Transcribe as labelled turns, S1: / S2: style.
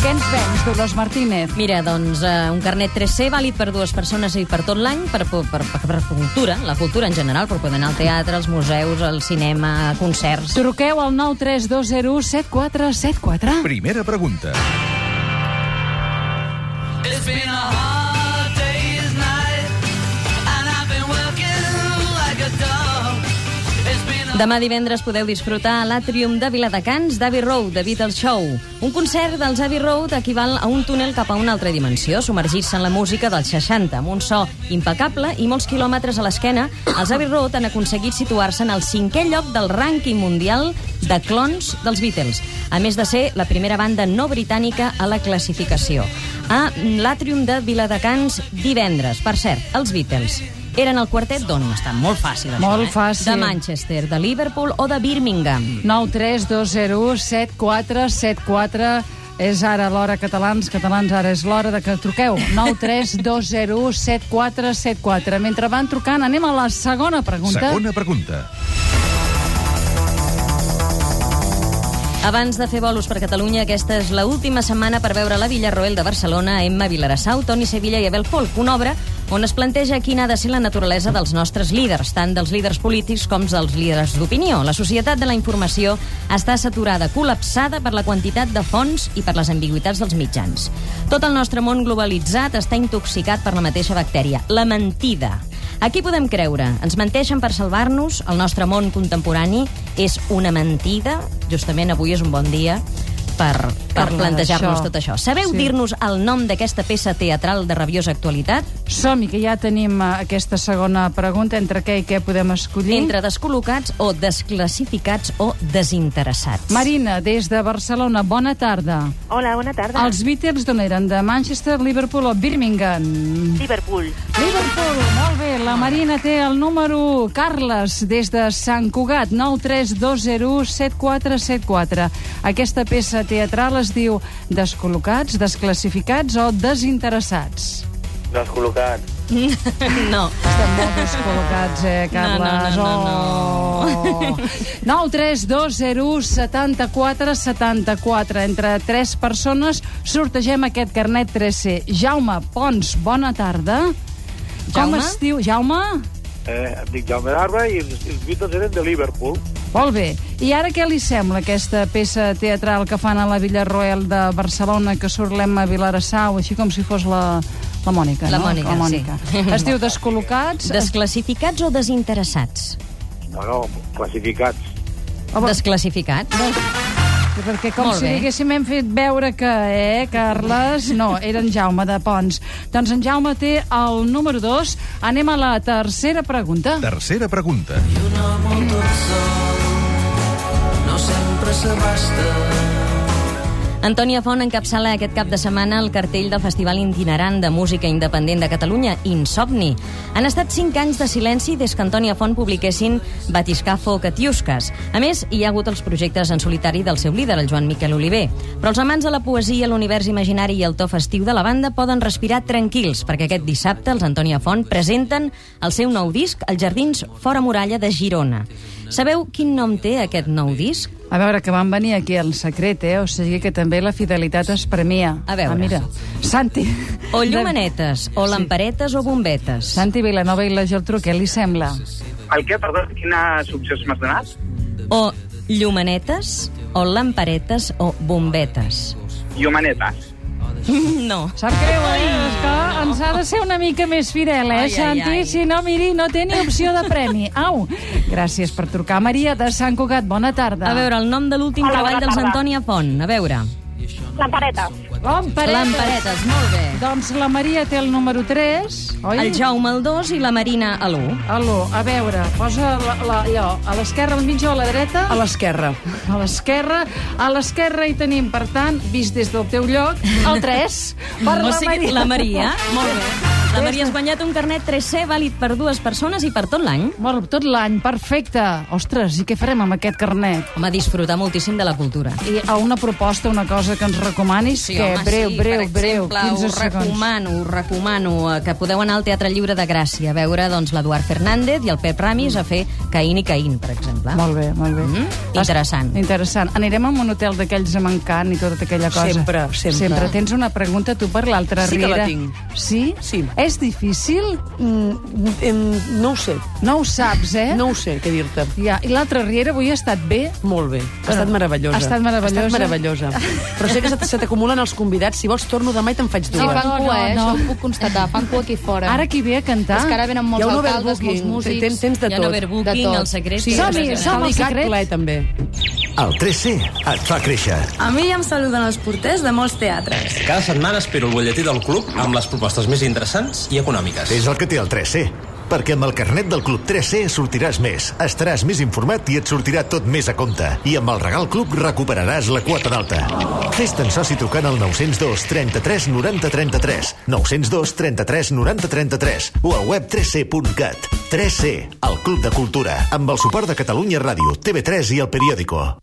S1: Què ens vens, Dolors Martínez?
S2: Mira, doncs, eh, un carnet 3C vàlid per dues persones i per tot l'any, per, per, per, per cultura, la cultura en general, per poder anar al teatre, als museus, al cinema, a concerts...
S1: Truqueu al 932017474.
S3: Primera pregunta.
S4: It's been a hard day's night, and I've been working like a dog. It's been a
S2: Demà divendres podeu disfrutar a l'Atrium de Viladecans d'Abbey Road, de Beatles Show. Un concert dels Abbey Road equival a un túnel cap a una altra dimensió, submergir-se en la música dels 60, amb un so impecable i molts quilòmetres a l'esquena, els Abbey Road han aconseguit situar-se en el cinquè lloc del rànquing mundial de clons dels Beatles, a més de ser la primera banda no britànica a la classificació. A l'Atrium de Viladecans divendres, per cert, els Beatles. Eren el quartet d'on? Està molt fàcil, això,
S1: Molt
S2: eh?
S1: fàcil.
S2: De Manchester, de Liverpool o de Birmingham.
S1: 932017474. És ara l'hora catalans, catalans, ara és l'hora de que truqueu. 932017474. Mentre van trucant, anem a la segona pregunta.
S3: Segona pregunta.
S2: Abans de fer bolos per Catalunya, aquesta és la última setmana per veure la Villarroel de Barcelona, Emma Vilarassau, Toni Sevilla i Abel Folk, una obra on es planteja quina ha de ser la naturalesa dels nostres líders, tant dels líders polítics com dels líders d'opinió. La societat de la informació està saturada, col·lapsada per la quantitat de fonts i per les ambigüitats dels mitjans. Tot el nostre món globalitzat està intoxicat per la mateixa bactèria, la mentida. A qui podem creure? Ens menteixen per salvar-nos? El nostre món contemporani és una mentida? Justament avui és un bon dia per, per
S1: Parlar
S2: plantejar-nos
S1: d'això.
S2: tot això. Sabeu
S1: Sí.
S2: sí. dir-nos el nom d'aquesta peça teatral de rabiosa actualitat?
S1: Som-hi, que ja tenim eh, aquesta segona pregunta. Entre què i què podem escollir?
S2: Entre descol·locats o desclassificats o desinteressats.
S1: Marina, des de Barcelona, bona tarda.
S5: Hola, bona tarda.
S1: Els Beatles d'on eren? De Manchester, Liverpool o Birmingham?
S5: Liverpool.
S1: Liverpool, molt bé. La Marina té el número 1. Carles, des de Sant Cugat, 932017474. Aquesta peça teatral es diu Descol·locats, Desclassificats o Desinteressats.
S6: Descol·locat.
S2: No.
S1: Estem molt descol·locats, eh, Carles?
S2: No,
S1: no,
S2: no,
S1: no. Oh. 9 3 2 0 1 74 74. Entre tres persones sortegem aquest carnet 3C. Jaume Pons, bona tarda. Com
S2: Jaume?
S1: es diu? Jaume?
S6: Eh, em dic Jaume d'Arba i els, els Beatles eren de Liverpool.
S1: Molt bé. I ara què li sembla aquesta peça teatral que fan a la Villarroel de Barcelona, que surt l'Emma Vilarassau, així com si fos la, la Mònica,
S2: La
S1: no?
S2: Mònica,
S1: la Mònica.
S2: sí.
S1: Es diu Descol·locats.
S2: Desclassificats o desinteressats?
S6: No, no, classificats.
S1: Home.
S2: Desclassificats.
S1: Perquè com
S2: Molt
S1: si
S2: bé.
S1: diguéssim hem fet veure que, eh, Carles... No, era en Jaume de Pons. Doncs en Jaume té el número 2. Anem a la tercera pregunta.
S3: Tercera pregunta.
S4: I un home tot sol no sempre s'abasta.
S2: Antònia Font encapçala aquest cap de setmana el cartell del Festival Itinerant de Música Independent de Catalunya, Insomni. Han estat cinc anys de silenci des que Antònia Font publiquessin Batiscafo Catiusques. A més, hi ha hagut els projectes en solitari del seu líder, el Joan Miquel Oliver. Però els amants de la poesia, l'univers imaginari i el to festiu de la banda poden respirar tranquils, perquè aquest dissabte els Antònia Font presenten el seu nou disc, Els Jardins Fora Muralla de Girona. Sabeu quin nom té aquest nou disc?
S1: A veure, que van venir aquí al secret, eh? O sigui que també la fidelitat es premia.
S2: A veure.
S1: Ah, mira, Santi.
S2: O
S1: Doncs-
S2: llumanetes, o lamparetes o bombetes.
S1: Santi Vilanova i la Geltrú, què li sembla?
S7: El què, perdó, quines opcions m'has donat?
S2: O llumanetes, o lamparetes o bombetes.
S7: I humanetes.
S2: No.
S1: Sap greu, eh? És que ens ha de ser una mica més fidel, eh,
S2: Ai, ai,
S1: Santi?
S2: ai.
S1: Si no, miri, no té ni opció de premi. Au! Gràcies per trucar. Maria de Sant Cugat, bona tarda.
S2: A veure, el nom de l'últim
S5: Hola,
S2: treball
S5: bona
S2: dels
S5: tarda.
S2: Antònia Font. A veure.
S5: Lampareta.
S1: Lamparetes.
S2: Lamparetes, molt bé.
S1: Doncs la Maria té el número 3, oi?
S2: El Jaume el 2 i la Marina el 1.
S1: Aló, a veure, posa la, la, allò, a l'esquerra, al mitjà o a la dreta? A l'esquerra. A l'esquerra. A l'esquerra hi tenim, per tant, vist des del teu lloc, el 3. Per
S2: O
S1: la
S2: sigui,
S1: Maria.
S2: la Maria. Molt bé. La Maria has guanyat un carnet 3C vàlid per dues persones i per tot l'any.
S1: Bueno, tot l'any, perfecte. Ostres, i què farem amb aquest carnet?
S2: Home, disfrutar moltíssim de la cultura.
S1: I a una proposta, una cosa que ens recomanis?
S2: Sí,
S1: que
S2: home,
S1: breu,
S2: sí,
S1: breu,
S2: per
S1: breu,
S2: exemple,
S1: 15
S2: us recomano, us recomano eh, que podeu anar al Teatre Lliure de Gràcia a veure doncs, l'Eduard Fernández i el Pep Ramis a fer Caín i Caín, per exemple.
S1: Molt bé, molt bé.
S2: Mm? Interessant.
S1: Interessant. Anirem a un hotel d'aquells amb encant i tota aquella cosa.
S8: Sempre, sempre.
S1: Sempre. Tens una pregunta tu per l'altra,
S8: Sí que
S1: Riera.
S8: la tinc.
S1: Sí?
S8: Sí.
S1: És difícil?
S8: Mm, em, no ho sé,
S1: No ho saps, eh?
S8: no ho sé què dir-te.
S1: Ja. I l'altra Riera avui ha estat bé?
S8: Molt bé, ha estat meravellosa.
S1: ha estat meravellosa.
S8: Ha estat meravellosa. Però sé que se t- se t'acumulen els convidats. Si vols, torno demà i te'n faig dues.
S9: Sí, fan
S1: no,
S9: cua, eh?
S1: no.
S9: Això ho puc constatar. Fan cua aquí fora.
S1: Ara qui ve a cantar?
S9: És que ara venen molts
S8: Hi ha un
S9: alcaldes, molts
S8: overbooking.
S9: músics...
S8: Tens, tens de
S2: Hi ha
S8: tot.
S2: un overbooking,
S9: De tot.
S2: el secret...
S1: Sí, Som-hi,
S2: i-
S1: som al
S8: Cal
S1: secret.
S8: ple, també.
S10: El 3C et fa créixer.
S11: A mi ja em saluden els porters de molts teatres.
S12: Cada setmana espero el butlletí del club amb les propostes més interessants i econòmiques.
S10: És el que té el 3C. Perquè amb el carnet del Club 3C sortiràs més, estaràs més informat i et sortirà tot més a compte. I amb el Regal Club recuperaràs la quota d'alta. Fes-te'n soci trucant al 902 33 90 33, 902 33 90 33 o al web 3C.cat. 3C, el Club de Cultura, amb el suport de Catalunya Ràdio, TV3 i El Periòdico.